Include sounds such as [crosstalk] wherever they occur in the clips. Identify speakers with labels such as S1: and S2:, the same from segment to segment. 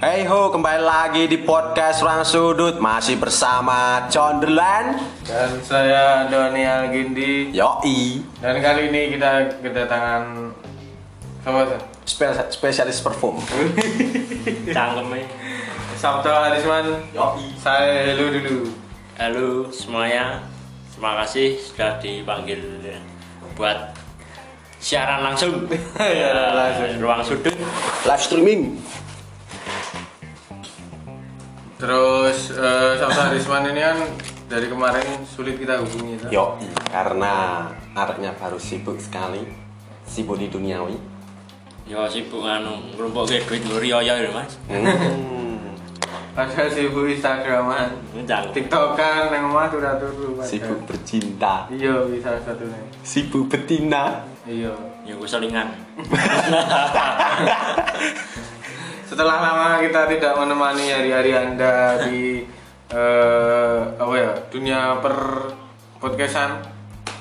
S1: Hey ho, kembali lagi di podcast Ruang Sudut Masih bersama Conderlan
S2: Dan saya Donial Gindi
S1: Yoi
S2: Dan kali ini kita kedatangan Siapa sih?
S1: Spe- Spesialis perform
S3: Cangkem ya.
S2: Sabto Harisman
S1: Yoi.
S2: Saya hello dulu
S3: Halo semuanya, terima kasih sudah dipanggil ya. buat siaran
S2: [laughs]
S3: langsung
S2: Siaran Iya, langsung.
S3: Ya, ruang sudut.
S1: Live streaming
S2: Terus eh, Sabto Harisman ini kan Dari kemarin sulit kita hubungi tak?
S1: Yoi Karena anaknya baru sibuk sekali Sibuk di
S2: [laughs]
S1: duniawi
S3: Yo sibuk anu ngerumpuk ke duit luri yo yo mas.
S1: Hmm,
S2: Ada sibuk Instagraman
S3: Ini cangkem.
S2: Tiktokan yang mah udah turu padahal.
S1: Sibuk bercinta
S2: Iya bisa satu nih
S1: Sibuk betina
S2: Iya
S3: Yo gue selingan.
S2: Setelah lama kita tidak menemani hari-hari anda di eh, apa ya dunia per podcastan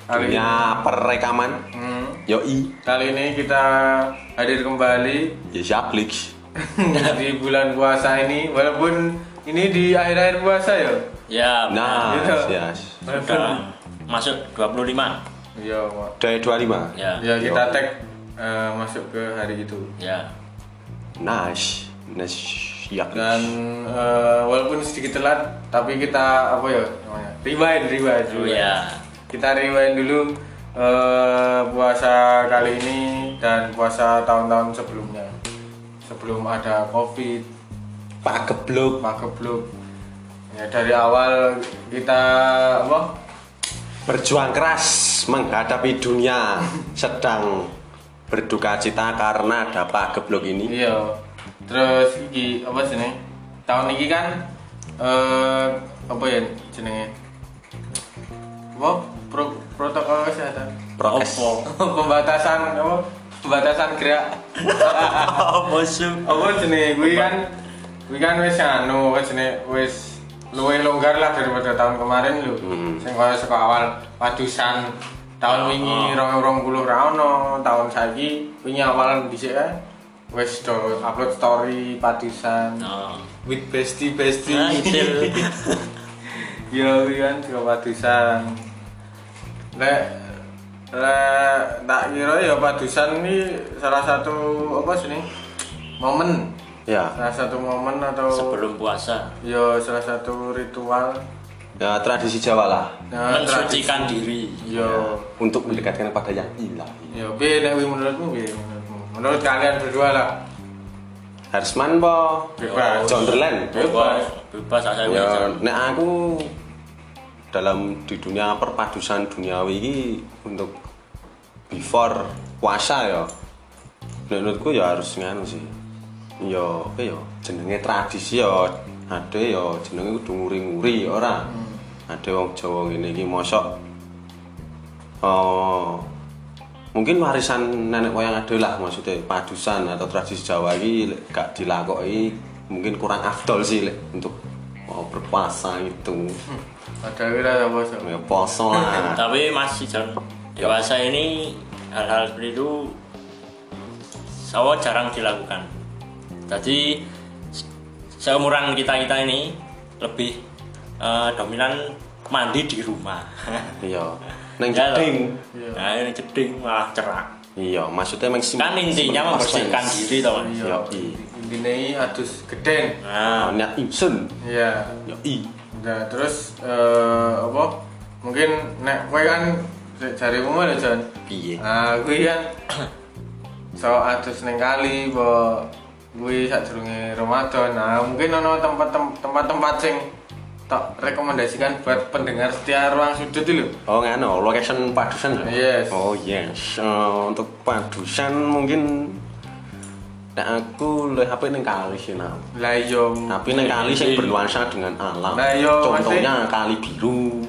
S2: Kali ini-
S1: Punya perekaman
S2: Hmm.
S1: Yoi
S2: Kali ini kita hadir kembali [laughs]
S1: Yesablix
S2: di bulan puasa ini, walaupun ini di akhir-akhir puasa ya.
S3: Ya.
S1: Nah,
S2: Gitu.
S1: yes
S2: Walaupun,
S3: sudah masuk 25
S2: ya, Mak.
S1: Dari 25
S3: ya
S2: ya kita tag eh, masuk ke hari itu.
S3: ya
S1: Nice Nice
S2: Dan eh, walaupun sedikit telat, tapi kita apa ya namanya? Rewind, rewind,
S3: Oh,
S2: rewind.
S3: ya
S2: Kita rewind dulu eh, puasa kali ini dan puasa tahun-tahun sebelumnya. Sebelum ada Covid,
S1: Pak Geblok
S2: Maka belum ya dari awal kita apa
S1: Berjuang keras menghadapi dunia sedang berduka cita karena ada Pak Geblok ini.
S2: iya terus iki apa sih nih tahun ini kan eh apa ya jenenge apa pro, protokol kesehatan
S1: Prokes.
S3: Opo.
S2: [laughs] pembatasan apa pembatasan gerak
S3: Opo su.
S2: apa jenenge gue kan gue kan wis anu wis jenenge wis luwih longgar lah daripada tahun kemarin lho sing kaya saka awal padusan tahun wingi rong rong puluh ra ono tahun saiki wingi awal dhisik kan wis do upload story padusan
S3: Nah,
S2: with bestie bestie
S3: nah itu.
S2: [laughs] Yo kan juga padusan. Lek lek tak kira ya padusan ini salah satu apa sih ini? momen
S1: Ya.
S2: salah satu momen atau
S3: Sebelum puasa
S2: yo salah satu ritual
S1: ya, tradisi Jawa lah
S2: nah,
S3: mensucikan diri.
S2: tradisi. yo
S1: untuk mendekatkan kepada yang ilahi.
S2: yo bi nek wi menurutmu bi menurutmu menurut kalian berdua lah
S1: Harisman po,
S2: Bebas.
S1: Jonderland.
S2: Bebas.
S3: Bebas asal
S1: Ya,
S3: bebas.
S1: nek aku dalam di dunia perpadusan duniawi ini untuk before puasa ya. Menurutku ya harus nganu sih. Ya, apa ya jenenge tradisi ya ada ya jenenge kudu nguri-nguri ora. Ada wong Jawa ngene iki mosok Oh, mungkin warisan nenek moyang adalah maksudnya padusan atau tradisi Jawa ini lek gak dilakoni mungkin kurang afdol sih lek untuk mau berpuasa itu
S3: Hmm.
S2: padahal kira ada bos
S1: ya poso
S3: [laughs]
S1: lah
S3: tapi masih Jon dewasa ini hal-hal seperti itu saya jarang dilakukan jadi se- seumuran kita kita ini lebih eh, dominan mandi di rumah
S1: iya neng
S3: [laughs] Ya, lho.
S1: jeding
S3: nah ini jeding malah cerah
S1: iya maksudnya neng sim-
S3: kan intinya membersihkan diri toh Mas.
S2: yo
S1: Yoi.
S2: ini adus gedeng
S3: nah
S1: Oh, niat insun
S2: iya
S1: ya i
S2: Nah, terus eh apa? Mungkin nek kowe kan jarimu mana, Jon?
S1: piye
S2: ya, Nah, kuwi kan [coughs] so atus ning kali bo kuwi sadurunge Ramadan. Nah, mungkin ono tempat tem- tempat-tempat sing tak rekomendasikan buat pendengar setia ruang sudut itu lho.
S1: Oh ngano, location padusan ya?
S2: Yes.
S1: Oh yes, Eh, untuk padusan mungkin Nah aku lebih HP neng kali sih nah.
S2: Lah iya
S1: Tapi neng kali sih
S3: Iya.
S1: bernuansa dengan alam
S2: Nah, iya,
S1: Contohnya kali biru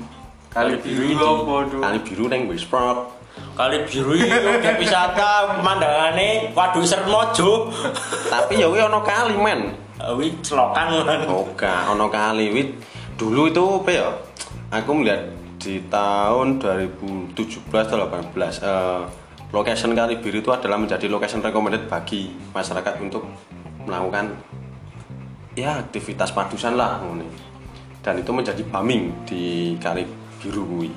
S2: kali biru opo tuh.
S1: Kali biru neng Westbrook
S3: kali biru [laughs] udah wisata pemandangannya waduh sermojo
S1: Tapi ya wih ono kali men
S3: [laughs] wih celokan
S1: Oke, ono kali wih Dulu itu apa ya Aku melihat di tahun 2017-18 eh, Location kali biru itu adalah menjadi location recommended bagi masyarakat untuk melakukan ya aktivitas padusan lah ngene. Dan itu menjadi bumming di kali biru kuwi.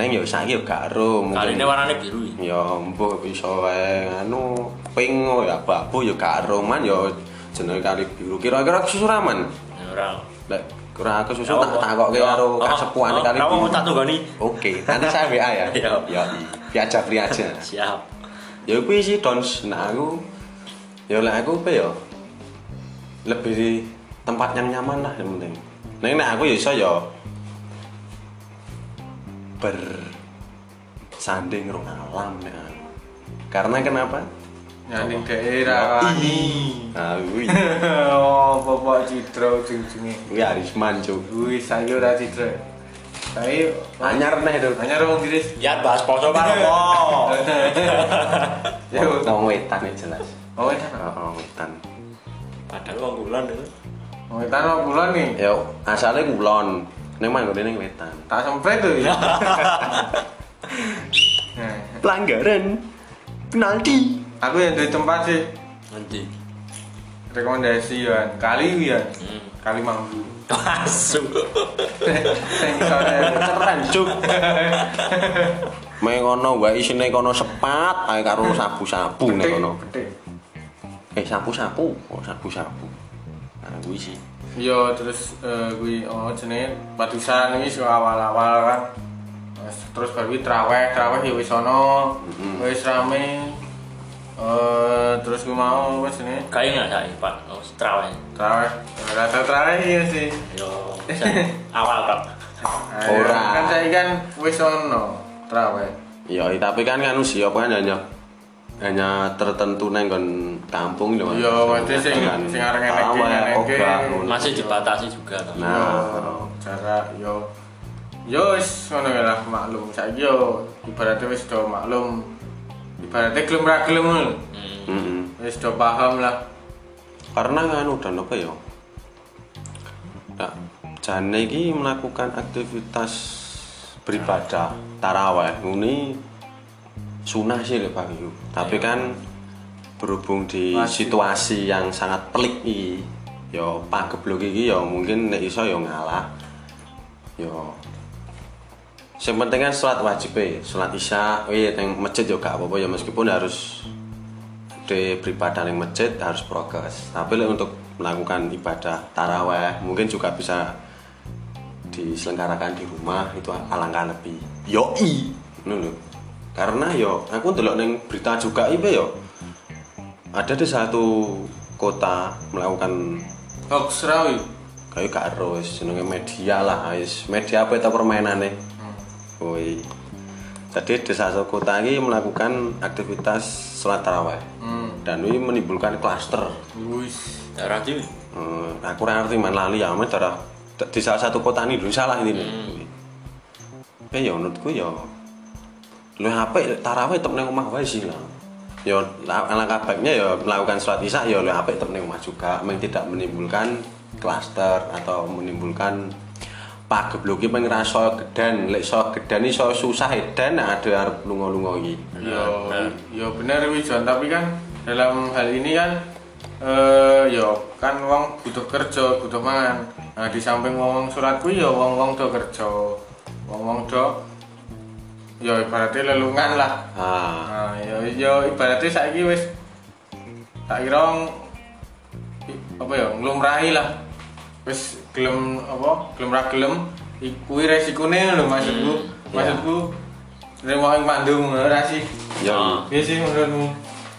S1: Neng yo saiki yo gak ero
S3: kali ini
S1: mungkin.
S3: warnanya biru ya
S1: Ya mbok iso wae anu ping ya babu yo gak ero man yo jenenge kali biru. Kira-kira kesusuraman.
S3: Ya, ora
S1: Lek kurang aku susu
S3: Ya
S1: tak takokke karo kasepuane kali
S3: kamu
S1: biru.
S3: tak tunggoni
S1: Oke, nanti saya
S3: [laughs]
S1: WA ya.
S3: Iya.
S1: Ya, diajak free aja.
S3: siap
S1: ya kuwi sih dons nah aku ya lah aku apa ya lebih di tempat yang nyaman lah yang penting nah nah aku ya iso ya bersanding rong alam nek aku. karena kenapa
S2: Nyanding Ya, daerah [laughs] wani.
S3: Hmm.
S1: nah wih
S2: Oh, bapak Citra ujung-ujungnya.
S1: wih Arisman cuk
S2: Wih, saya ora Citra. Saya
S1: anyar nih itu
S2: hanya orang Inggris.
S3: ya bahas poso pak
S1: oh
S2: Ya,
S1: ngomong wetan ya jelas
S2: oh enak.
S1: ngomong wetan
S3: padahal wong kulon itu
S2: Oh, kita nol bulan nih.
S1: ya asalnya kulon neng manggon neng wetan
S2: Tak sempret tuh. ya. Nah,
S1: pelanggaran penalti
S2: aku yang dari tempat sih
S3: nanti
S2: rekomendasi ya kali ya kali mampu
S3: asu
S2: sensor
S1: keren
S2: [laughs]
S1: cuk Mae kono wae isine kono sepat ae karo sabu-sabu nek kono. Eh sabu-sabu, kok sabu-sabu. Nah kuwi sih.
S2: Iya terus eh, gue oh jenenge padusan ini suka awal-awal kan. Terus- Terus baru gue traweh, traweh ya wis ono, wis rame. Eh terus gue mau wis ini
S3: kayak nggak saya pak oh strawen
S2: traweh. Rata traweh iya sih.
S3: yo saya- awal pak
S2: Ayo,
S1: Ora.
S2: Kan saya kan wis ono traweh.
S1: Ya tapi kan kan usia apa kan hanya hanya tertentu neng kon kampung lho.
S2: Iya, berarti sing- sing areng eneke, eneke.
S3: masih dibatasi juga kan
S1: Nah.
S2: Yo, jarak yo yo wis ngono ya lah maklum saiki yo ibaratnya wis do maklum ibaratnya gelem ra gelem ngono lho.
S3: Hmm.
S1: Heeh.
S2: wis do paham lah
S1: Karena nganu dan apa ya? Nah, jane iki melakukan aktivitas beribadah taraweh ngene sunah sih lek Pak Yu. Tapi kan berhubung di
S2: Wajib.
S1: situasi yang sangat pelik iki, ya Pak Geblok iki ya mungkin nek iso ya ngalah. Ya Sing penting kan sholat wajib e, sholat isya, eh teng masjid ya gak apa-apa ya meskipun harus di beribadah di masjid harus prokes. Tapi lek untuk melakukan ibadah taraweh mungkin juga bisa diselenggarakan di rumah itu alangkah lebih yoi ngono lho. karena yo aku ndelok neng berita juga ibe yo ada di satu kota melakukan
S2: hoax ra wi
S1: kayak gak ero wis jenenge media lah wis media apa itu permainannya woi jadi desa kota ini melakukan aktivitas sholat taraweh dan ini menimbulkan klaster
S2: wis
S3: daerah itu
S1: Eh, aku kurang ngerti man lali ya, amat darah di salah satu kota ini Indonesia lah ini. Hmm. Tapi ya menurutku ya, lu HP taraweh tetap neng rumah wae sih lah. Ya la- alangkah baiknya ya melakukan sholat isya ya lu HP tetap neng rumah juga, memang tidak menimbulkan klaster atau menimbulkan pak geblok iki pengrasa gedan lek iso gedan iso susah edan nah ada arep lunga-lunga iki
S2: yo
S3: Bener.
S2: yo bener wi Jon tapi kan dalam hal ini kan eh yo kan wong butuh kerja butuh mangan nah di samping wong wong surat kuwi yo wong wong do kerja wong wong do yo ibaratnya lelungan lah
S1: ah
S2: Nah, ya ya ibaratnya saiki wis tak kira i- apa ya nglumrahi lah. Wis gelem apa? Gelem ra gelem i- kuwi resikone lho maksudku. Maksudku remo ing pandung ora sih.
S1: ya
S3: Ah.
S2: Piye sih menurutmu?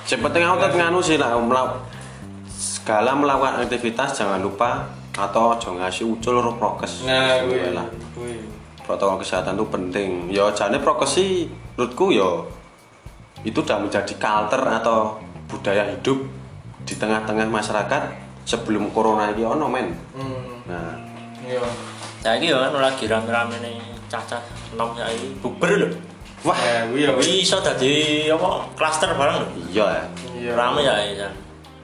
S1: Yang penting aku tetap nganu sih lah melau- segala melakukan aktivitas jangan lupa atau jangan ngasih ucul roh prokes.
S2: Nah,
S1: Gitu
S2: kuwi
S1: lah.
S2: kuwi.
S1: Protokol kesehatan itu penting. Ya jane prokes sih menurutku ya itu udah menjadi culture atau budaya hidup di tengah-tengah masyarakat sebelum corona ini ono men.
S2: Hmm.
S1: Nah,
S2: Iya.
S3: saya ini kan lagi rame-rame nih cacat nom saya ini bubar lho
S1: wah
S2: Ya kuwi ya kuwi.
S3: Wih, iso dadi apa klaster bareng lho
S1: iya ya.
S2: Iya.
S3: rame ya ya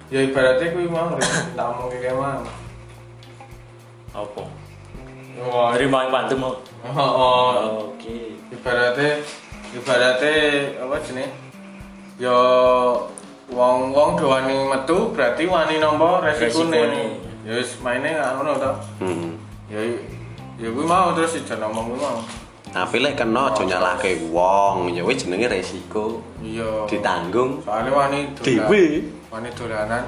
S2: Ya ibaratnya kuwi mau [laughs] lho, tak mau kayak mana.
S3: apa
S2: Wah,
S3: terima yang bantu mau
S2: [laughs] oh, oh.
S3: oke
S2: ibaratnya ibaratnya apa jenis ya wong wong do wani metu berarti wani nompo resikone
S3: Resikone.
S2: ya wis maine nggak ngono to
S1: Hmm.
S2: ya ya gue mau terus itu ngomong gue mau
S1: Nah, Tapi lek kena aja nyalahke wong, ya wis jenenge resiko
S2: iya
S1: ditanggung
S2: soalnya wani dolan-
S1: Dewe.
S2: wani dolanan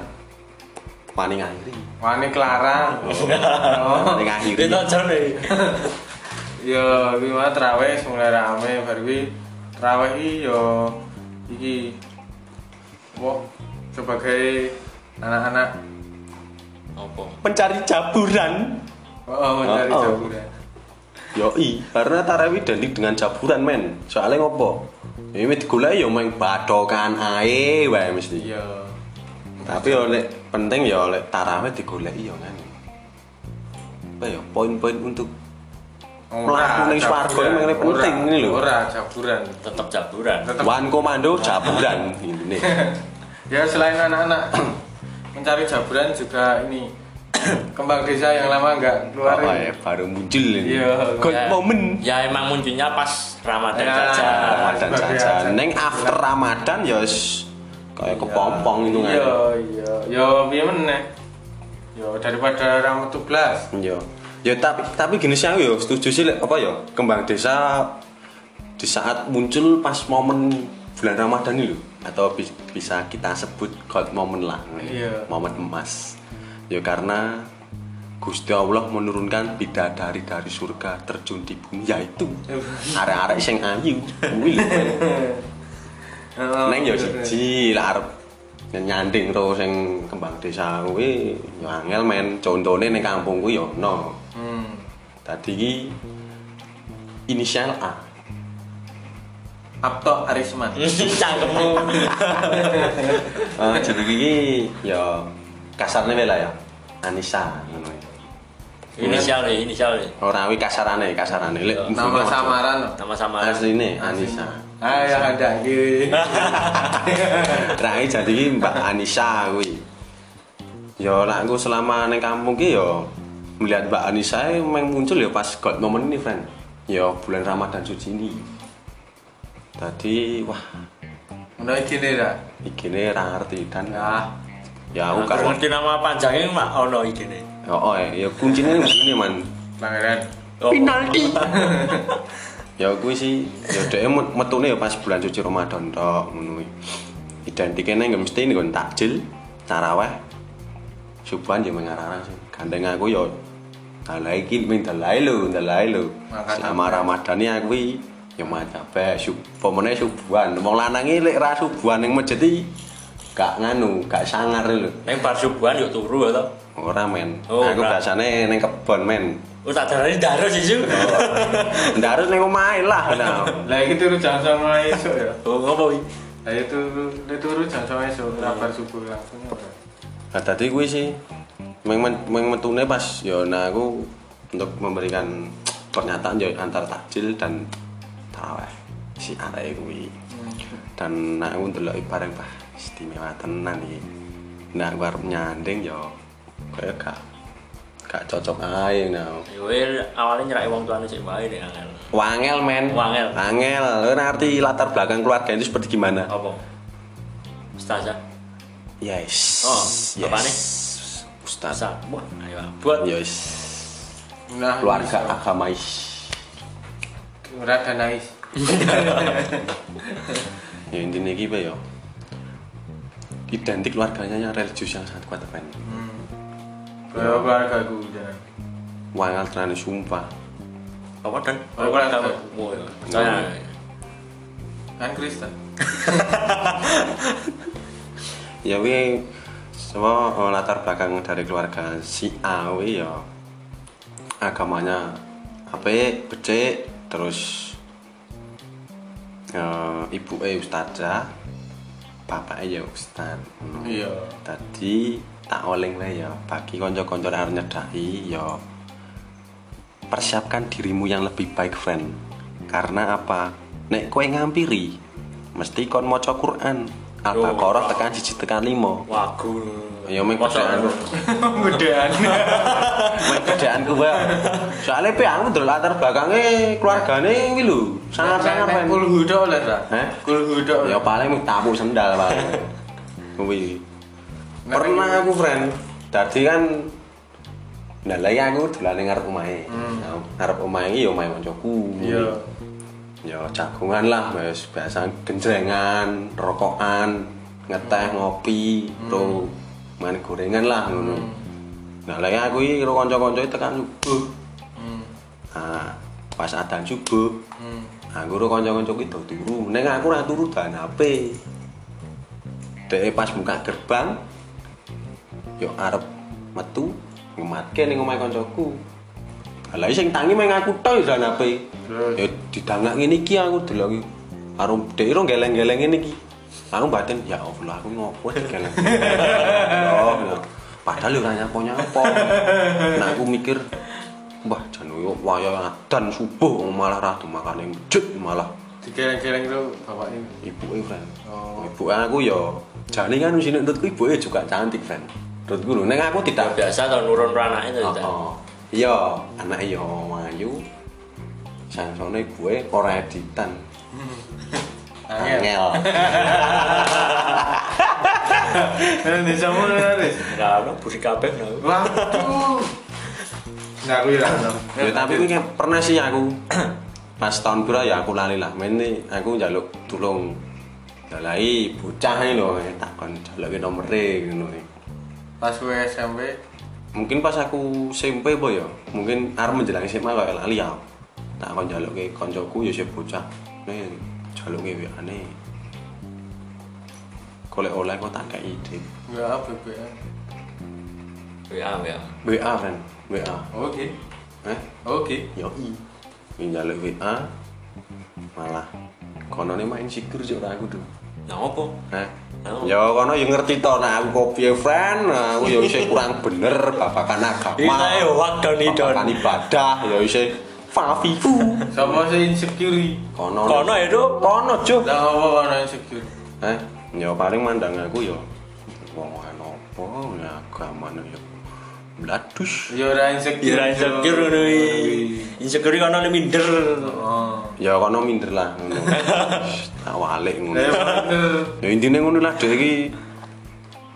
S1: wani ngakhiri.
S2: wani kelarang oh.
S1: Wani ngakhiri.
S3: Kita cari.
S2: Ya, kuwi mah traweh mulai rame bar kuwi traweh iki yo iki wah sebagai anak-anak
S3: Apa?
S1: Pencari caburan.
S2: oh, mencari
S1: Oh, oh.
S2: jaburan.
S1: Yoi, karena tarawih danding dengan caburan men. Soalnya ngopo? Ini digoleki yo main badokan ae wae mesti.
S2: Iya.
S1: Tapi yo lek penting yo lek tarawih digoleki yo kan. Apa ya poin-poin untuk
S2: Oh,
S1: Pelaku ning swarga ini mengenai penting ini lho.
S2: Ora jaburan.
S3: Tetap jaburan.
S2: Tetep
S1: Wan Komando caburan ini.
S2: ya selain anak-anak [clears throat] mencari jaburan juga ini [clears throat] kembang desa yang lama enggak keluar.
S1: Apa ya baru muncul ini.
S2: Iya,
S1: Good
S2: iya.
S1: moment.
S3: Ya emang munculnya pas Ramadan
S2: Ya.
S3: saja.
S1: Ramadan
S2: Sebagai
S1: jajan.
S2: ajang.
S1: Neng after Ramadan ya wis kayak kepompong itu kan.
S2: Iya, iya. Yo piye meneh? Yo daripada ramu 12
S1: Iya. Ya tapi tapi gini sih aku ya setuju sih lek apa ya kembang desa di saat muncul pas momen bulan Ramadan ini loh atau bi- bisa kita sebut god moment lah
S2: Iya.
S1: momen emas ya karena Gusti Allah menurunkan bidadari dari surga terjun di bumi yaitu arek-arek sing ayu kuwi lho men. Neng ya
S2: Oh,
S1: siji lah arep nyanding terus sing kembang desa kuwi ya angel men contone ning kampungku ya ono.
S2: Hmm.
S1: Tadi ki inisial A.
S2: Apto Arisman.
S3: [laughs]
S1: Iya.
S3: Cangkemmu.
S1: Eh jenenge iki ya kasarne wae lah ya. Anissa ngono ya.
S3: Inisial deh, inisial E. deh.
S1: Ora wi kasarane, kasarane. Lek
S2: Nama samaran.
S3: Nama sama.
S1: Asline Anissa.
S2: Ah ya ada iki.
S1: Rai jadi ki Mbak Anissa kuwi. Ya lah aku selama ning kampung ki ya melihat Mbak Anissa e memang muncul ya pas god momen ini, friend. Ya bulan Ramadan suci ini. Tadi wah,
S2: Ngono iki ne ra.
S1: iki ne ra ngerti dan
S2: Ah.
S1: ya aku
S3: Aku
S1: karo
S3: ngerti nama panjangnya mak ono iki nih.
S1: Ya, oh, ya kuncinya ini begini man.
S2: Pangeran.
S3: Oh, Penalti.
S1: Ya gue sih, ya dia met- metune ya pas bulan suci Ramadan tok ngono. Identiknya nggak mesti ini kan takjil, taraweh, subuhan ya mengarang sih. Gandeng aku ya dalai iki ming dalai lho, dalai lho.
S2: Makan
S1: Selama Ramadan ya kuwi ya maca bae sub pemene subuhan. Wong lanang iki lek ra subuhan ning masjid iki gak nganu, gak sangar lho.
S3: Neng bar subuhan yuk turu ya atau?
S1: Ora men.
S3: Oh,
S1: aku
S3: ora.
S1: biasane ning kebon men.
S3: Oh tak darah ini darah sih Su.
S1: Ndak harus ning omahe lah. Nah.
S2: Lah iki turu jam 9 mulai esuk ya.
S3: [laughs] Oh ngopo iki?
S2: Lah itu dia turu jam 9 esuk,
S1: Iya.
S2: ra bar subuh langsung. ya, ora.
S1: Nah, tadi gue sih meng meng metune pas ya nah aku untuk memberikan pernyataan ya antar takjil dan taraweh si arek kuwi. Dan nah aku ndelok bareng bah istimewa tenan iki. Nah aku arep nyanding ya kayak gak gak cocok ae nah.
S3: Yo Ya awalnya nyerai wong tuane sik wae nek angel.
S1: Wangel men.
S3: Wangel.
S1: Wangel. Lu ngerti latar belakang keluarga itu seperti gimana?
S3: Apa? Ustazah.
S1: Yes.
S3: Oh, apane?
S1: Ustaz.
S3: Ustaz. Wah, ayo buat.
S1: Yes.
S2: Nah,
S1: Keluarga
S2: iso.
S1: agamais.
S2: ora ada nangis.
S1: ya intinya gitu ya identik keluarganya yang religius yang sangat kuat kan
S2: Kaya keluarga aku jangan.
S1: wangal terani sumpah
S3: Apa dan?
S2: Apa, Dan?
S3: Oh, iya. Saya
S2: Kan Kristen.
S1: ya we semua eh, latar belakang dari keluarga si A we ya agamanya apa becek terus eh, ibu eh ustazah bapaknya ya ustaz Hmm.
S2: Iya.
S1: tadi tak oleng lah ya bagi konco-konco yang harus nyedaki ya persiapkan dirimu yang lebih baik friend karena apa nek kowe ngampiri mesti kon maca Quran Al-Baqarah tekan siji tekan 5
S3: wagu.
S1: ya mek
S3: Masa-
S1: kerjaan
S2: Gedean.
S1: mek kerjaan ku bae soalnya pe aku ndelok latar belakangnya keluargane iki lho sangar-sangar
S2: Nek
S1: men
S2: kulhu tok oleh ra.
S1: Heh?
S2: Kulhu tok.
S1: ya paling mung tapuk sendal paling kuwi
S2: Nek-
S1: pernah aku friend tadi kan Nah, lah ya aku dolane ngarep omahe. Nah, ngarep omahe iki ya omahe koncoku.
S2: Iya.
S1: Ya jagungan lah, wis biasa genjrengan, rokokan, ngeteh
S2: Hmm.
S1: ngopi, terus main gorengan lah ngono. Nah, lah ya aku iki karo kanca-kanca iki tekan subuh.
S2: Hmm.
S1: Nah, pas adzan subuh,
S2: Hmm.
S1: aku karo kanca-kanca iki do turu. Ning aku ora turu dan HP. Dek pas buka gerbang, yo arep metu ngematke ning omahe kancaku. Lah iki sing tangi main aku tok yo dan HP.
S2: Terus?
S1: Ya didangak ngene iki aku delok iki. Arep dek ro geleng-geleng ngene iki. Aku batin ya Allah aku ngopo geleng. Padahal yo ora nyapo-nyapo. Nah aku mikir Wah, jan yo waya adan subuh malah ra dimakan yang jut malah
S2: Digeleng-geleng itu bapak ini.
S1: ibuke friend.
S2: Oh.
S1: Ibuke aku yo jane kan wis nututku ibuke juga cantik friend. Menurutku lho, nek aku tidak
S3: biasa kalau nurun ranah itu
S1: Oh,
S3: Cak.
S1: oh. Iya, anak iya Mayu. Sangsone ibuke ora editan.
S2: Angel.
S1: Angel.
S2: Indonesia mana Riz?
S3: nggak ada buri kabeh nggak ada.
S2: Waduh. Nah, aku ya.
S1: Ya, tapi kuwi kayak pernah sih aku [coughs] pas tahun pira ya aku lali lah. Mene aku njaluk tulung. Dalai bocah iki lho takon jaluke nomere ngono iki.
S2: pas gue SMP
S1: Mungkin pas aku SMP apa ya? Mungkin arep menjelang SMA kaya lali ya. Tak kon jaluke kancaku ya sing bocah. Nih jaluke aneh. Golek oleh kok tak kei ide.
S2: gue apa gue?
S3: ya ya
S1: WA kan, WA.
S2: Oke,
S1: Eh,
S2: oke.
S1: yoi. Minjalik WA malah konone main sigur sih ora aku tuh.
S3: nah apa
S1: Hah?
S3: Oh.
S1: Ya kono yo ngerti to nek aku kopi friend, nah, aku yo isih kurang bener babakan agama.
S3: Kita yo wadon idon.
S1: Babakan ibadah yo isih fafifu.
S2: Sama si insecure.
S1: Kono.
S3: kono itu
S1: kono jo.
S2: Lah apa karena insecure?
S1: Eh, ya paling mandang aku yo wong ana apa ya agamane yo bladus.
S2: Ya ora insecure.
S3: kira insecure ngono iki. insecure kono ini minder
S2: Oh.
S1: Ya kono minder lah
S3: [laughs]
S1: ngono. Tak walik ngono.
S2: Lah ya bener.
S1: ya intinya ngono lah dia iki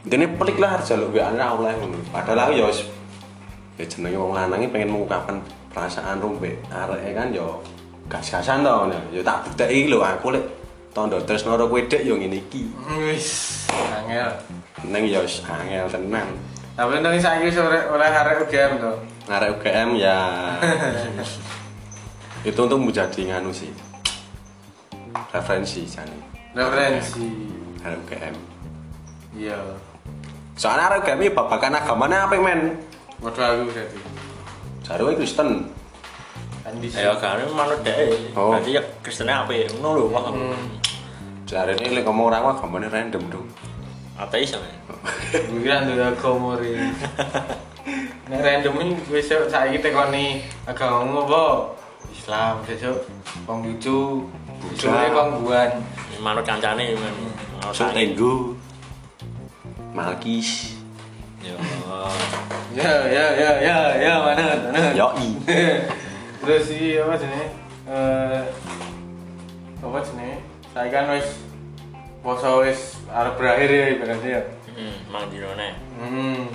S1: intinya pelik lah harus jaluk WA ora oleh ngono padahal aku ya wis ya jenenge wong lanang iki pengen mengungkapkan perasaan rumbe areke kan ya gas-gasan to ngono ya tak bukteki lho aku lek tondo tresno karo kowe dek ya ngene iki
S2: Wis, angel.
S1: neng ya wis angel tenan
S2: Tapi nang saiki sore oleh arek UGM to.
S1: arek UGM ya itu untuk menjadi nganu sih referensi jane
S2: Referensi.
S1: arek UGM
S2: Iya.
S1: soalnya arek UGM ya babakan agamanya apa men
S2: Waduh aku berarti.
S1: jarwe Kristen
S2: Andi.
S3: ya karena manut deh
S1: Oh.
S3: berarti ya Kristennya apa ya ngono lho wah
S1: Jare ini lek ngomong orang agamane random dong.
S3: ateis sampe
S2: Gue kira nduwe agama ri. Nek random ini wis yuk, saiki tekoni agamamu apa? Islam, sesuk Konghucu, Buddha, Kongguan.
S3: manut kancane men manut
S1: Masuk
S3: angin.
S1: Ego. Malkis.
S3: ya
S2: Ya, ya, ya, ya, ya, mana, mana.
S1: Yoi.
S2: Terus iki apa jenenge? Eh apa jenenge? Saya kan wis poso wis arep berakhir ya ibaratnya ya.
S3: hmm mang dirone
S2: Hmm.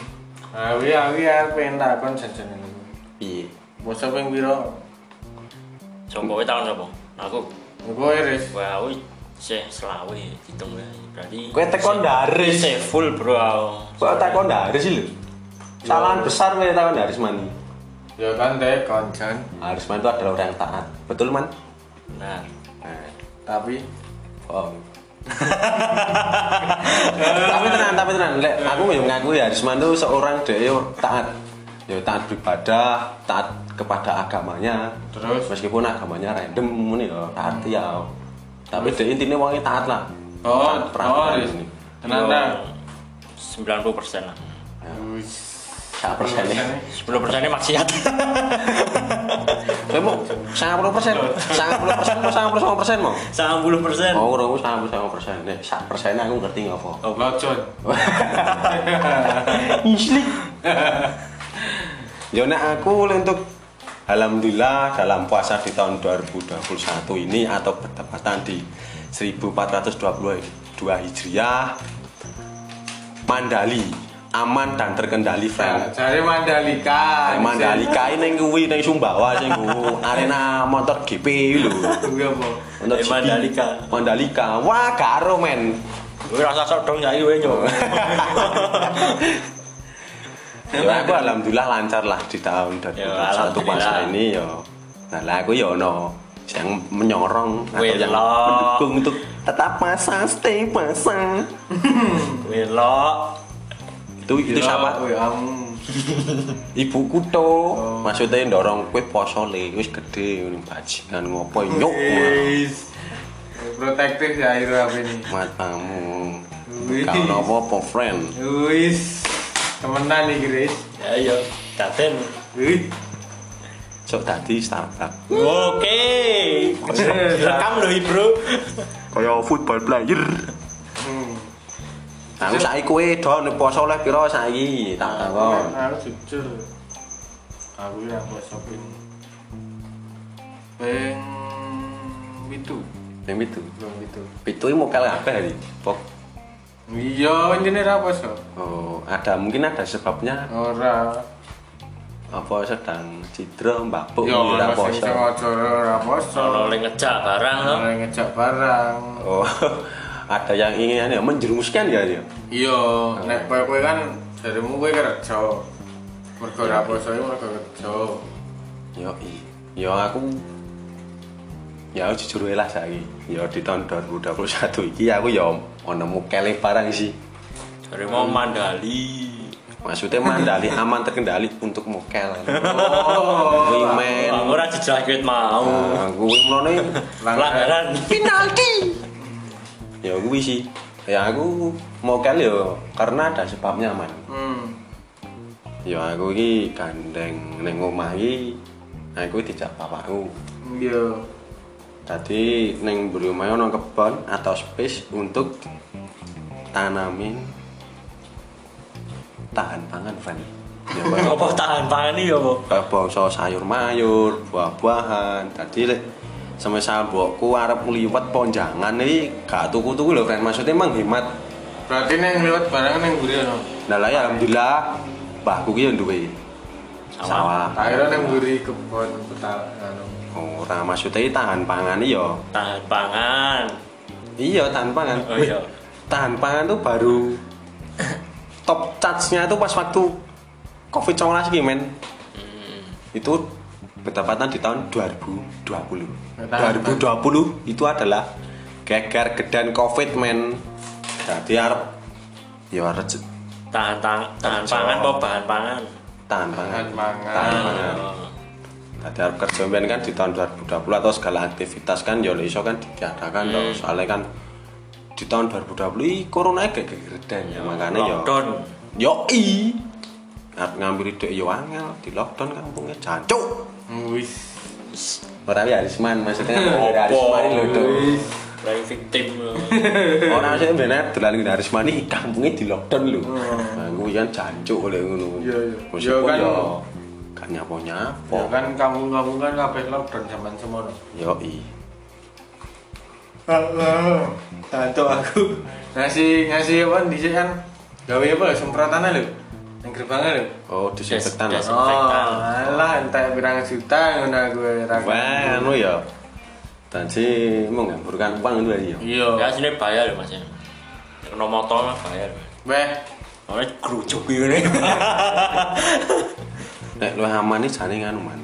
S2: Ah, wi aku ya pengen takon jajan ini.
S1: Piye?
S2: Poso ping piro?
S3: Sopo kowe tahun apa? Aku
S2: Engko iris.
S3: kowe aku sih selawe hitung ya. Berarti
S1: Kowe tekon Daris.
S3: sih full bro aku.
S1: Kok takon Daris sih lho. Kesalahan besar kowe takon Daris mani.
S2: Ya kan deh koncan.
S1: Haris mani itu adalah orang yang taat. Betul man?
S3: Nah,
S1: Nah,
S2: Tapi
S1: [laughs] bohong. tapi tenang, tapi tenang. Lek aku yo ngaku ya Haris mani itu seorang dia yo taat. Yo taat beribadah, taat kepada agamanya.
S2: terus
S1: meskipun agamanya random ini ya taat ya tapi dia intinya wongnya taat lah
S2: Oh,
S1: Taat
S2: oh,
S1: peraturan
S2: Riz.
S1: ini
S2: Tenang, tenang.
S3: 90 persen lah.
S2: Ya Wis.
S1: saya persen ya
S3: Sepuluh persen ini maksiat. [laughs]
S1: saya mau sangat puluh persen sangat puluh persen mau sangat puluh persen mau
S3: Sama puluh persen.
S1: oh kurang sangat puluh sangat persen nih sangat persennya aku ngerti nggak kok
S2: Blocon.
S1: Islik. Ya nek aku untuk Alhamdulillah dalam puasa di tahun 2021 ini atau bertepatan di 1422 Hijriah Mandali aman dan terkendali friend
S2: Jare Nah, Mandalika.
S1: Mandalika ini yang kuwi yang Sumbawa sing kuwi. arena motor GP lho
S2: Enggak po.
S1: motor
S3: Eh,
S1: GP.
S3: Mandalika.
S1: Mandalika wah karo men
S3: Gue rasa sok dong ya gue nyok.
S1: ya aku alhamdulillah lancar lah di tahun
S3: Ya,
S1: 2021
S3: alhamdulillah.
S1: masa ini ya nah lah aku ya ono yang menyorong atau yang
S3: Welok.
S1: mendukung untuk tetap masa stay masa
S3: Welok.
S1: itu itu
S3: Welok.
S1: siapa
S2: Oh ya amu.
S1: ibuku to maksudnya dorong kue poso le wis gede ini bajingan ngopo nyok
S2: Wis. Protektif ya Iru apa ini.
S1: matamu
S2: Wih.
S1: kau nopo po friend
S2: Wis. Temenan nih Grace.
S3: Ya yo, daten.
S2: Wih.
S1: sok tadi startup
S3: Oke. Rekam loh Bro.
S1: kaya football player
S2: Hmm.
S1: aku saiki kue don poso le piro saiki tak takon
S2: Aku jujur. Aku ya aku shopping. Peng itu.
S1: yang itu
S2: Belum itu.
S1: itu mau kalah apa hari pok
S2: Iya, ini apa so?
S1: oh ada mungkin ada sebabnya
S2: Ora.
S1: apa sedang cedera mbabuk
S2: Ya
S1: ngira
S2: ora
S1: Oh, iya,
S2: sing
S1: poso
S2: sengaja ora poso.
S3: Ono le ngejak barang loh.
S2: Ora ngejak barang.
S1: oh [laughs] ada yang ingin ya, menjerumuskan ya dia
S2: Iya, nek kowe-kowe kan darimu kowe kerja. Mergo ora poso iku mergo kerja.
S1: Yo, yo aku ya aku jujur wae lah saiki. Yo di tahun 2021 iki aku ya yo nemu kelih e barang sih.
S3: Dari mau Mandali.
S1: Maksudnya mandali aman terkendali untuk mokel.
S2: Oh.
S1: Wimen.
S3: Wah, Ora dijangkit mau.
S1: Nah, Aku mlone
S3: Pelanggaran.
S1: ya kuwi sih. Ya aku mokel yo karena ada sebabnya man.
S2: Hmm.
S1: Yo Ya, aku iki gandeng ning omah iki nah, aku dijak bapakku.
S2: Iya.
S1: Tadi neng beli omahe ono kebon atau space untuk tanamin tahan pangan friend. Ya kaya
S3: [laughs] Apa tahan pangan iki apa?
S1: kaya bangsa sayur mayur, buah-buahan. Tadi lek semisal mbokku arep liwat ponjangan iki gak tuku-tuku lho friend. Maksudnya emang hemat.
S2: Berarti neng liwat barang neng mburi ono.
S1: Nah lah ya alhamdulillah mbahku ki yo duwe
S3: Sawah.
S1: sawah.
S2: Akhirnya neng mburi kebon petal anu.
S1: Ora maksudnya iki tahan pangan iki yo.
S3: Tahan pangan.
S1: Iya tahan pangan.
S3: Oh iya.
S1: tahan pangan tuh baru top charge-nya tuh pas waktu covid 19 ini men
S3: Hmm.
S1: itu pendapatan di tahun 2020
S2: Tahan
S1: 2020 itu adalah geger gedan covid men jadi arep ya rejek
S3: Tahan tahan, tahan pangan apa bahan pangan?
S1: tahan pangan
S2: Tahan pangan.
S1: tahan pangan jadi arep Ah. kerja men kan di tahun 2020 atau segala aktivitas kan ya oleh iso kan ditiadakan
S3: Hmm.
S1: loh soalnya kan di tahun 2020 ini corona geger gedan ya makanya ya
S3: Lockdown.
S1: Yoi. Arep ngambil ide yo angel di lockdown kampungnya jancuk.
S2: Wis.
S1: Ora ya Arisman maksudnya ora Arisman lho Dok.
S2: Wis.
S3: Playing victim.
S1: Ora maksudnya bener dolan ke Arisman iki kampungnya di lockdown lho.
S3: Hmm.
S1: Nah, kuwi kan jancuk oleh ngono.
S2: Iya,
S3: Ya,
S2: iya.
S1: Meskipun
S2: Iya, kan.
S1: yo kan
S2: Ya
S1: nyapo-nyapo.
S2: kan kampung-kampung kan kabeh lockdown zaman semono.
S1: Yoi.
S2: Heeh. Tanto aku ngasih ngasih apa dhisik kan gawe apa lho semprotane lho. Nang gerbangnya lho.
S1: Oh, disinfektan
S3: Des-
S1: lho.
S3: des- Desinfektan.
S2: Oh, alah entek pirang juta ngono aku ra.
S1: Wah, anu ya. Tadi menghamburkan uang itu ya.
S2: Iya.
S3: Ya sini bayar ya Mas. ya. Ono motor mah bayar.
S2: Weh,
S3: Ono kerucuk ngene.
S1: [laughs] Nek lu aman iki jane nganu man.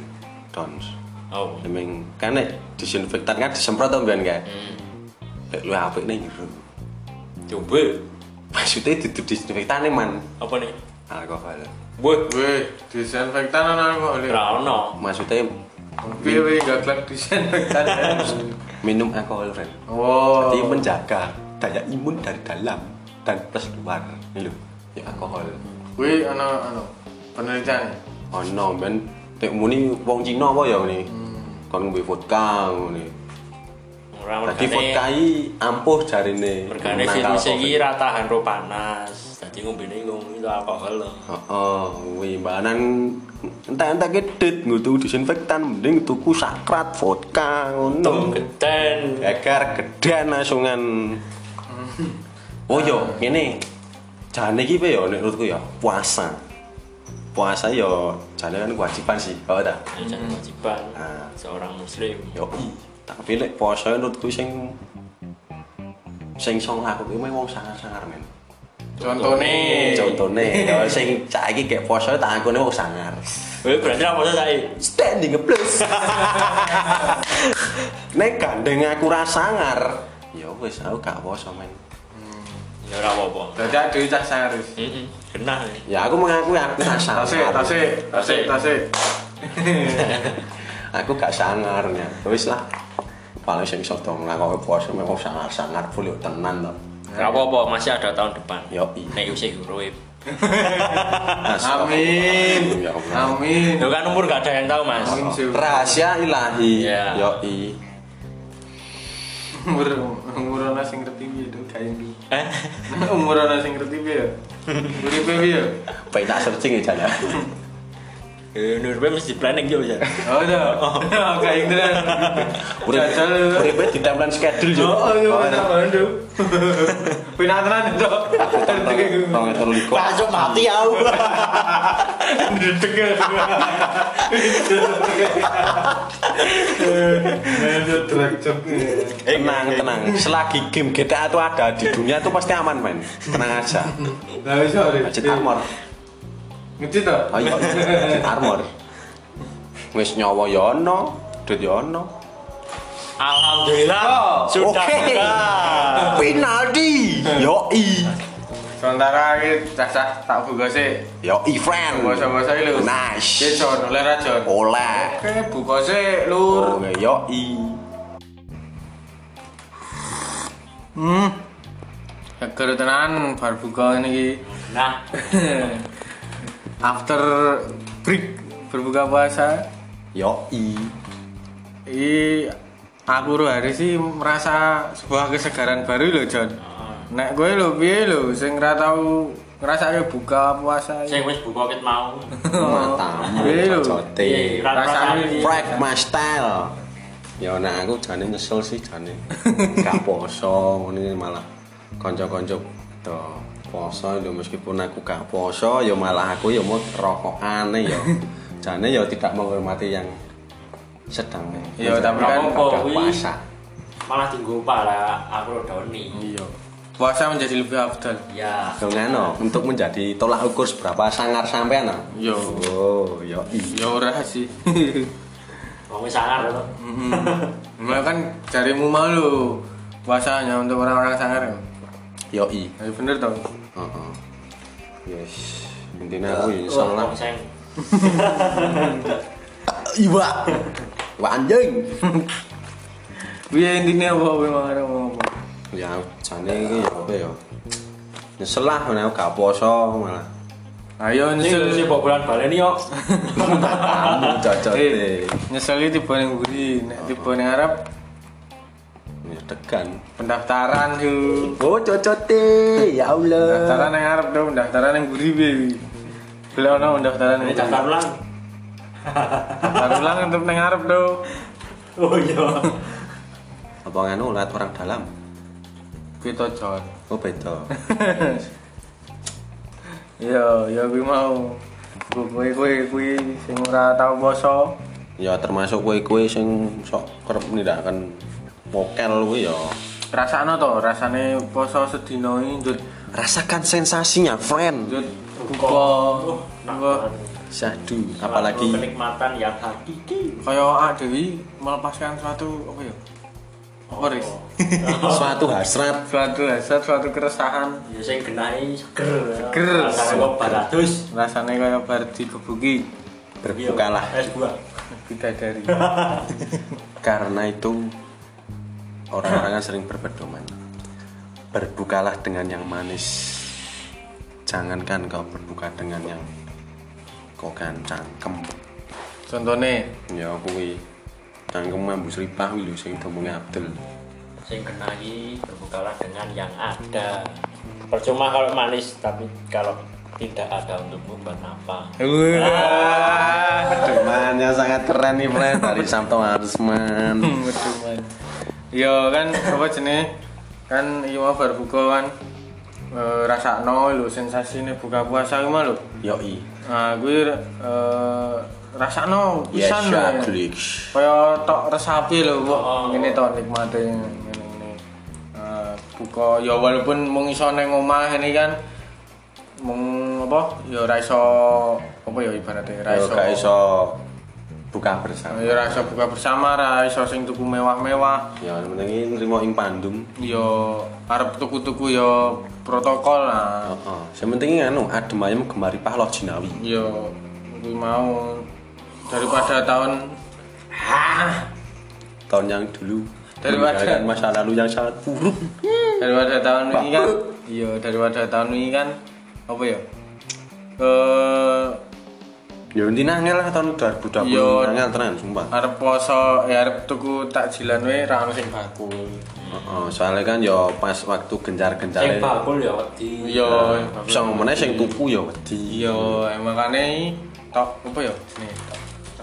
S1: Dons.
S3: Oh.
S1: Emang kan nek disinfektan kan disemprot to mbiyen kae. Lek lu apik ning jero.
S3: Coba
S1: Maksudnya itu disinfektan nih man
S3: apa nih?
S1: alkohol.
S3: Wah,
S2: weh, disinfektan ana kok lho.
S3: ora ono.
S1: Maksudnya
S2: Piye weh gaklek disinfektan. ya.
S1: [laughs] minum alkohol friend.
S2: Oh.
S1: Jadi menjaga daya imun dari dalam dan plus luar. Ini lho, ya alkohol.
S2: Weh ana anu penelitian.
S1: Oh no men, nek muni wong Cina apa ya ngene. Kon ngombe vodka ngene.
S3: Ora
S1: Dadi
S3: mergane.
S1: vodka iki ampuh jarine.
S3: Mergane
S1: menangkal
S3: virus
S1: COVID.
S3: iki ra tahan ro panas. Dadi ngombene ngombe itu alkohol lho.
S1: Heeh, kuwi mbanan entek-entek kedit nggo tuku disinfektan mending tuku sakrat vodka
S3: Tem
S1: ngono.
S3: geten.
S1: Geger gedan langsungan. Oh yo, ngene. jane iki piye ya nek menurutku ya puasa. Puasa ya jane kan kewajiban sih, kalau ta.
S3: Ya, jadi kewajiban
S1: Ah.
S3: seorang muslim
S1: Yo, tapi nek puasa menurutku sing sing song aku kuwi wong sangar-sangar men.
S2: Contohnya,
S1: Contone ya sing saiki gek puasa tak angkone wong sangar.
S3: Eh, berarti apa tuh saya
S1: Standing ngeplus. nek gandeng aku ra sangar, ya wis aku gak puasa men.
S3: ya ora apa-apa
S2: berarti ada cah sangaris.
S3: Mm-mm, genah ya.
S1: Ya aku mengakui aku tak
S2: Tasik,
S1: sangar.
S2: tasik, tasik, tasik.
S1: aku gak sangar ya wis lah paling sing sok dong lah kalau puasa memang sangar sangar full yuk tenan toh
S3: Ora apa-apa masih ada tahun depan
S1: Yo, i.
S3: nek usih urip
S2: Amin,
S1: Ya Allah.
S2: amin.
S3: Lo kan umur gak ada yang tahu mas
S2: Amin sih.
S1: rahasia ilahi
S3: Ya.
S1: yo i
S2: Umur umur ana sing ngerti piye to kae ndu.
S3: Eh?
S2: [laughs] Umur ana sing ngerti piye. Uripe piye?
S1: baik tak searching ya jana
S3: Eh, urip mesti planning yo [laughs] ya
S2: Oh no. [laughs] Oh, kae ngene.
S1: urip
S2: Jajal.
S1: urip ditempelan schedule yo
S2: Oh, iya ana bandu. [laughs] Pinatran to.
S1: Tong itu liku.
S3: Masuk mati aku
S2: Ndedeg. Ndedeg drek
S1: Tenang, tenang. Selagi game GTA itu ada di dunia itu pasti aman, men. Tenang aja.
S2: Lah wis ora.
S1: Budget armor.
S2: Ngecit to?
S1: Oh iya, budget armor. Wis nyawa yo ono, duit yo ono.
S3: Alhamdulillah
S2: Oh,
S3: Sudah
S1: Oke. Penalti. Yoi.
S2: Sementara iki cah-cah tak buka sih.
S1: Yoi friend.
S2: Basa-basa iki lho. Iki
S1: Nice.
S2: Jon, oleh ra Jon.
S1: Oleh.
S2: Oke, buka sih, Lur.
S1: Oke, yoi.
S2: Seger tenan bar buka niki.
S3: Nah
S2: After break berbuka puasa,
S1: Yoi.
S2: iki aku ro hari sih merasa sebuah kesegaran baru lho, Jon.
S3: Ah.
S2: Nek gue lho piye lho sing ra tau ngrasake buka puasa iki.
S3: Saya wis buka ket mau
S1: Matamu.
S2: Iya, lho.
S1: cocote.
S3: Iya, ra-
S2: Rasane
S3: rasane-
S1: Frank my style. Ya nah aku jane nyesel sih jane. Gak poso ngene malah kanca-kanca to poso ya meskipun aku gak poso ya malah aku ya mau rokokane ya. Jane ya tidak menghormati yang sedang
S2: Iya, tapi kan
S1: Gak
S3: kuwi-
S1: puasa.
S3: Malah tinggu pala aku doni
S2: Iya. Puasa menjadi lebih afdal.
S3: Ya
S1: Dongano untuk menjadi tolak ukur seberapa sangar sampean no?
S2: Yo.
S1: Oh, yo i.
S2: Iya, Ya ora
S3: [laughs]
S2: sih.
S3: Wong wis sangar lho
S2: Mulai kan jarimu malu puasanya untuk orang-orang sangar. ya.
S1: Yo i.
S2: Ya bener toh.
S1: Heeh. Yes. Intinya aku ya nyesel lah.
S2: oh,
S3: Wong sing-
S1: Iwa. Iwa anjing.
S2: Piye intine apa kowe mangan apa?
S1: ya jane iki ya apa ya. Nyesel lah nek aku gak poso malah.
S2: Ayo
S3: Sing
S2: iya, nyesel.
S3: sing bobolan baleni [laughs] yo
S1: Kamu
S2: Eh,
S1: cocote.
S2: nyesel iki tiba ning buri, nek tiba ning Arab
S1: Nyedekan.
S2: pendaftaran yo.
S1: Ya, Oh cocote. Ya Allah.
S2: Pendaftaran ning Arab dong, pendaftaran ning buri piye iki? Bila ono pendaftaran
S3: Ini
S2: ning
S3: daftar
S2: Arab.
S3: ulang
S2: Daftar ulang untuk ning Arab dong.
S3: Oh iya
S1: Apa nganu lihat orang dalam?
S2: Kita [laughs] jon.
S1: Oh beda.
S2: Yo, yo kuwi Iya, mau. Kowe kowe kuwi sing ora tau poso.
S1: Ya termasuk kue-kue sing sok kerep nindakaken mokel kuwi ya.
S2: Rasakno to, rasane poso sedina iki njut
S1: Rasakan sensasinya, friend.
S2: njut buka.
S3: Oh,
S2: Buka.
S1: Sadu,
S3: Suatu
S1: apalagi
S3: kenikmatan yang hakiki
S2: Kaya ah Dewi melepaskan suatu apa ya? Apa Riz?
S1: suatu hasrat
S2: suatu hasrat, suatu keresahan
S3: Ya sing genai seger
S2: Seger.
S3: Rasane kok baratus
S2: rasanya kayak bar dikebuki
S1: berbukalah
S3: Es buah
S2: bidadari
S1: karena itu orang-orang kan sering berpedoman berbukalah dengan yang manis jangankan kau berbuka dengan yang kau kan cangkem
S2: contohnya
S1: ya kuwi cangkem mambu seripah kuwi lho sing domongnya Abdul
S3: Sing genai berbukalah dengan yang ada Percuma kalau manis tapi kalau tidak ada untukmu buat apa
S2: waduh
S1: temannya sangat keren nih friend dari Samto Arsman
S2: man. yo kan apa jenis kan iya mau bar buka kan eh, rasakno lho sensasine buka puasa ku mah lho.
S1: Yoi.
S2: Nah, kuwi eh, rasakno
S1: Yes,
S2: pisan lho.
S1: ya, klik.
S2: Kaya tok resapi lho,
S3: Oh.
S2: kok ngene tok nikmate ngene-ngene. Eh, buka ya walaupun mung iso nang omah ini kan mung apa ya ora iso apa ya ibaratnya ra
S1: Yo
S2: iso
S1: gak iso buka bersama.
S2: ya ora iso buka bersama ra iso sing tuku mewah-mewah
S1: Ya yang penting ini nrimo ing pandum.
S2: yo arep tuku-tuku yo protokol lah
S1: Heeh. Sing penting anu adem ayem gemari pahloh jinawi.
S2: yo kuwi mau daripada tahun
S1: Tahun yang dulu
S2: Daripada-
S1: meninggalkan masa lalu yang sangat buruk.
S2: daripada tahun ini kan iya daripada tahun ini kan apa Eh, ya ke
S1: Ya intinya angel lah tahun 2020
S2: Yo.
S1: angel tenan sumpah.
S2: arep poso ya arep tuku takjilan we ra ono sing baku
S1: Heeh, soalnya kan yo pas waktu gencar-gencar
S3: Sing bakul ya wedi.
S2: iya
S1: bisa ngomongnya sing tuku ya wedi.
S2: iya emang kane tok apa ya ini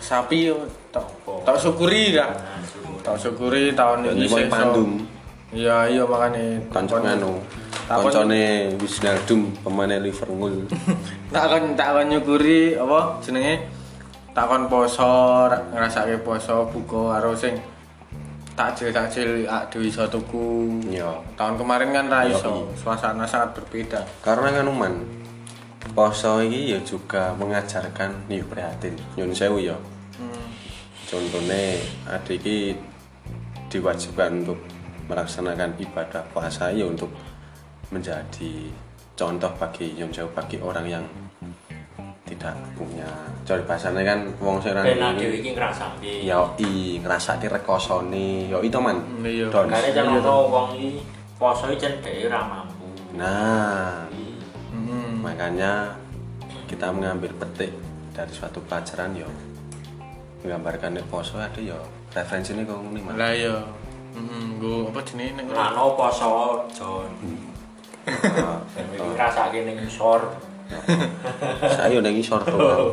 S2: sapi yo tok tok syukuri dah tok syukuri tahun
S1: Ya
S2: ini
S1: nrimo ing
S2: sing
S1: pandum.
S2: iya iya makane
S1: Kancane anu.
S2: Takon-
S1: Kancane Wisnaldum pemain Liverpool. [laughs]
S2: tak kon tak kon nyukuri apa jenenge tak kon poso ra- ngrasake poso buka karo sing takjil takjil ak dhewe iso tuku
S1: Iya.
S2: tahun kemarin kan ra
S1: Iya,
S2: iso suasana sangat berbeda
S1: Karena kan man poso ini ya juga mengajarkan nih prihatin nyun sewu ya. Contohnya ada iki diwajibkan untuk melaksanakan ibadah puasa ya untuk menjadi contoh bagi nyun sewu bagi orang yang tidak punya. Cari bahasanya kan wong sing ora
S3: Ben
S1: nduwe-
S3: dhewe iki ngrasake.
S1: ya i ngrasake rekosone ya i to man.
S2: Hmm, iya.
S1: Don.
S3: Kare jan ono wong iki poso iki jan dhewe ora mampu.
S1: Nah,
S2: hmm.
S1: makanya kita mengambil petik dari suatu pelajaran yo menggambarkan nek poso ada yo referensi ini kok ngene Mas.
S2: lah ya hmm, gua apa jenenge nek ora
S3: Lano poso jon. Ben iki ngrasake ning isor.
S1: saya nang isor
S2: Oh.
S1: tuh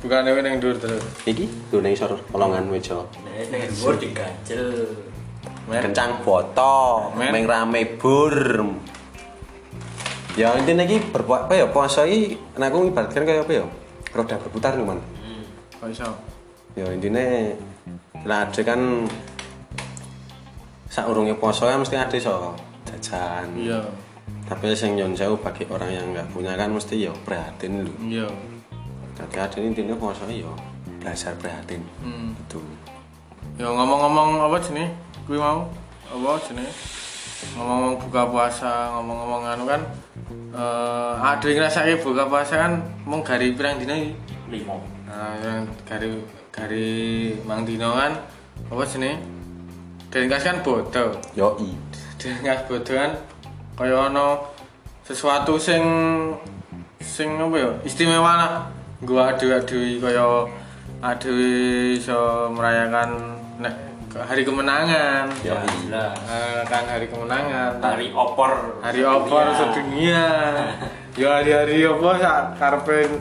S2: bukan dewe ning dhuwur terus
S1: iki tuh nang isor kolongan meja
S3: Nek ning dhuwur digajel.
S2: Mer-
S1: kencang boto
S2: Men.
S1: meng rame bur ya intinya iki berbuat apa ya poso iki nek aku ibaratkan kayak apa ya roda berputar nih man
S2: kok iso
S1: ya intinya lah ada kan saurunge poso kan mesti ada so jajan
S2: iya
S1: tapi yang nyon sewu bagi orang yang nggak punya kan mesti ya prihatin lu
S2: iya
S1: tapi ada ini intinya poso ya belajar prihatin
S2: hmm.
S1: itu
S2: Ya ngomong-ngomong apa jenenge? Kuwi mau apa jenenge? Ngomong-ngomong buka puasa, ngomong-ngomong anu kan eh ada yang ngrasake buka puasa kan mung gari pirang dina iki.
S3: Limo.
S2: Nah, yang gari gari mang dina kan apa jenenge? Dengkas kan bodoh.
S1: yoi
S2: Dengkas bodoh kan kaya ana sesuatu sing sing apa ya? Istimewa lah. Gua adu-adu kaya adu iso merayakan nek hari kemenangan.
S1: yoi
S3: Lah,
S2: Eh, kan Ya. hari kemenangan
S3: tari opor.
S2: hari opor
S3: Iya.
S2: sedunia ya hari-hari apa sak karepe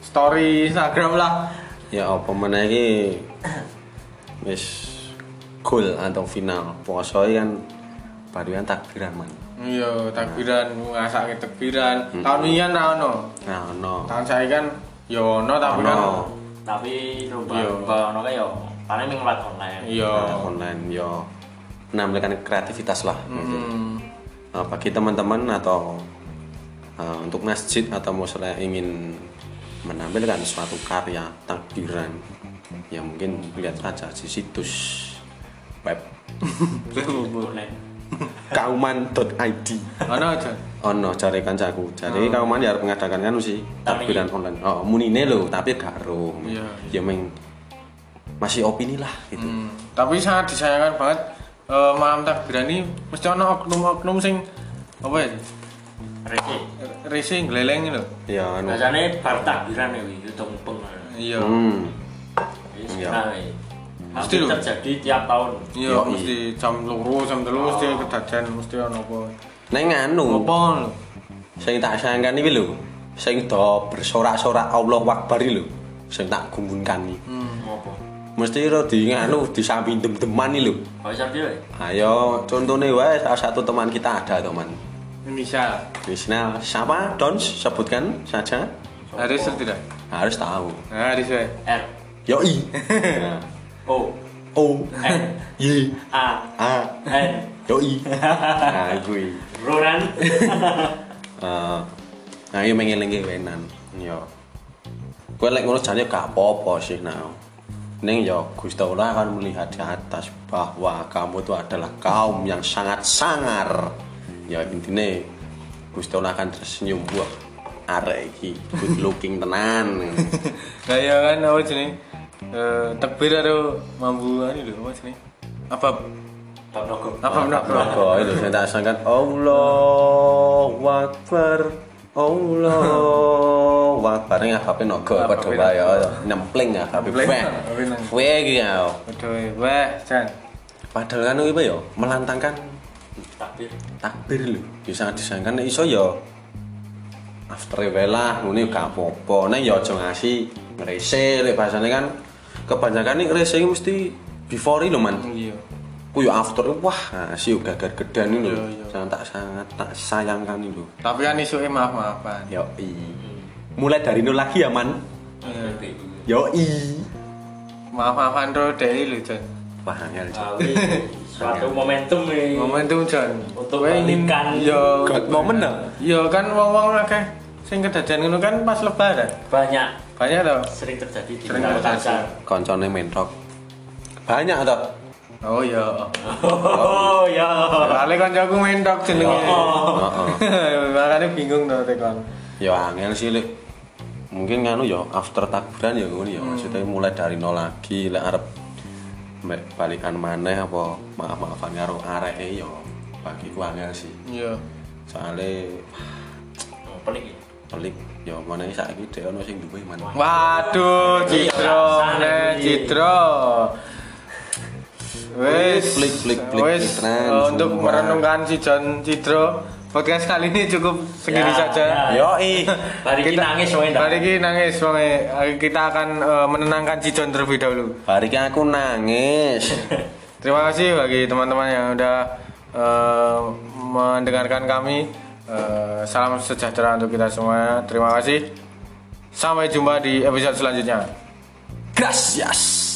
S2: story Instagram lah
S1: ya apa mana ini [coughs] wis goal atau final poso ini kan baru kan takbiran man
S2: iya takbiran ngasake takbiran tahun ini kan ra ono
S1: nah no
S2: tahun saya kan ya ono tapi kan
S1: no
S3: Tapi
S2: Iya.
S3: lomba-lomba ono kae yo paling ming lewat online.
S2: iya
S1: Nah, online yo menampilkan kreativitas lah gitu.
S2: Hmm.
S1: Nah, bagi teman-teman atau eh, untuk masjid atau musola yang ingin menampilkan suatu karya takbiran ya mungkin lihat saja di situs web
S3: Online.
S1: kauman.id
S2: ono aja
S1: oh no cari kancaku cari
S2: Hmm.
S1: kauman ya harus mengadakan kan sih
S3: Tapi-
S1: takbiran online oh munine lo tapi gak ro
S2: Iya,
S1: ya meng masih opini lah gitu
S2: Hmm, tapi sangat disayangkan banget eh, malam takbiran ini mesti ono oknum-oknum sing apa ya
S3: Rene.
S2: racing gleleng lho
S1: ya anu
S3: Biasane bar takbiran ya iki tumpeng.
S2: iya
S1: hmm.
S3: Wis
S1: Iya.
S3: kenal ya.
S2: Mesti
S3: Hampir
S2: lho.
S3: terjadi tiap tahun.
S2: Iya,
S1: Yoi.
S2: mesti jam loro, jam telu mesti kedaden mesti ono apa.
S1: Neng anu,
S2: Apa lho?
S1: sing tak sayangkan iki lho, sing do bersorak-sorak Allah Akbar iki lho, sing tak gumunkan iki.
S2: Hmm.
S3: Ngopo?
S1: Mesti ro di nganu disambi dem-deman iki lho.
S3: ya? Kok iso dhewe?
S1: Ayo, contohnya wae salah satu teman kita ada teman.
S2: misal
S1: Misal siapa? Dons sebutkan saja.
S2: harus atau tidak
S1: Harus tahu.
S2: nah harus ya
S3: R
S1: Yoi. Nah.
S3: O
S1: O Y
S3: A
S1: A
S3: N
S1: Yoi. Nah, gue.
S3: Ronan
S1: Eh, nah iya mengeling wenan yo gue lek ngono jane gak apa-apa sih nah Neng yo Gusti Allah akan melihat di atas bahwa kamu itu adalah kaum yang sangat sangar. Ya intine Gusti Allah akan tersenyum buat arek iki good looking tenan.
S2: nah ya kan apa jenis Eh, takbir atau mambu ini lho apa jenis apa
S3: Top Nogo
S2: apa
S1: Maka itu saya tak sangkan Allahu Akbar Allahu Akbar Ini ngapain nogo Padha wae ya Nempling ngapain
S2: Nempling,
S1: Weh
S2: ngapain nang.
S1: Weh iki ya
S2: Waduh, weh, Jan.
S1: Padahal kan apa ya Melantangkan
S3: Takbir
S1: takbir lho Ya sangat disayangkan Nek iso ya After wae lah Ini gak apa-apa Nek ya aja ngasih Ngerese Lek bahasanya kan Kebanyakan nih ngerese ini mesti Before ini lho man
S2: Iya.
S1: Ku yo after wah ngasih yo gagar gedan ini lho.
S2: Iya, iya.
S1: Sangat tak sangat tak sayangkan ini lho.
S2: Tapi kan isuke maaf-maafan.
S1: Yo i.
S3: Hmm.
S1: Mulai dari nol lagi ya man.
S2: Iya.
S3: Lebih
S1: Yo i.
S2: Maaf-maafan tuh dari lho, Jan.
S1: Wah angel. Cok.
S3: Tapi
S2: Iya.
S3: suatu momentum nih
S2: Momentum, Jan.
S3: Untuk
S2: Kowe ingin-
S3: balikan.
S2: Iya.
S3: Oh,
S1: God moment dah.
S2: Iya kan wong-wong akeh sing kedadian ngono kan pas lebaran.
S3: banyak
S2: Banyak toh.
S3: sering terjadi di
S2: Sering
S3: kota
S2: terjadi.
S3: Tangerang.
S1: Koncone mentok. Banyak toh.
S2: Oh iya.
S3: [laughs] Oh ya.
S2: Soale kancaku mentok jenenge.
S3: Oh.
S1: Heeh.
S2: [laughs] Makane bingung toh tekon.
S1: Yo angel sih lek. Mungkin nganu yo after takbiran ya ngono ya. Maksudnya
S3: Hmm.
S1: mulai dari nol lagi lek arep mek balikan maneh apa maaf-maafan karo areke yo. Bagiku angel sih.
S2: Iya.
S1: Soale
S3: Pelik. ya?
S1: pelik ya mana ini saat ini dia ada yang duwe mana
S2: Waduh, Eh, Citro,
S3: Sana
S2: nih
S3: Iya, iki.
S2: Citro. Wes,
S1: Blik, blik, blik,
S2: wes.
S1: Citran,
S2: eh, Untuk
S1: sumpah.
S2: merenungkan si John Citro, podcast kali ini cukup segini
S3: Ya,
S2: saja.
S3: ya.
S1: yo ih
S3: Mari kita nangis wong endah.
S2: Mari kita nangis, wonge. Eh, Kita akan eh, menenangkan si John terlebih dahulu.
S1: hari ini aku nangis
S2: Terima kasih bagi teman-teman yang udah eh, mendengarkan kami. Eh, salam sejahtera untuk kita semua. Terima kasih. Sampai jumpa di episode selanjutnya.
S1: gracias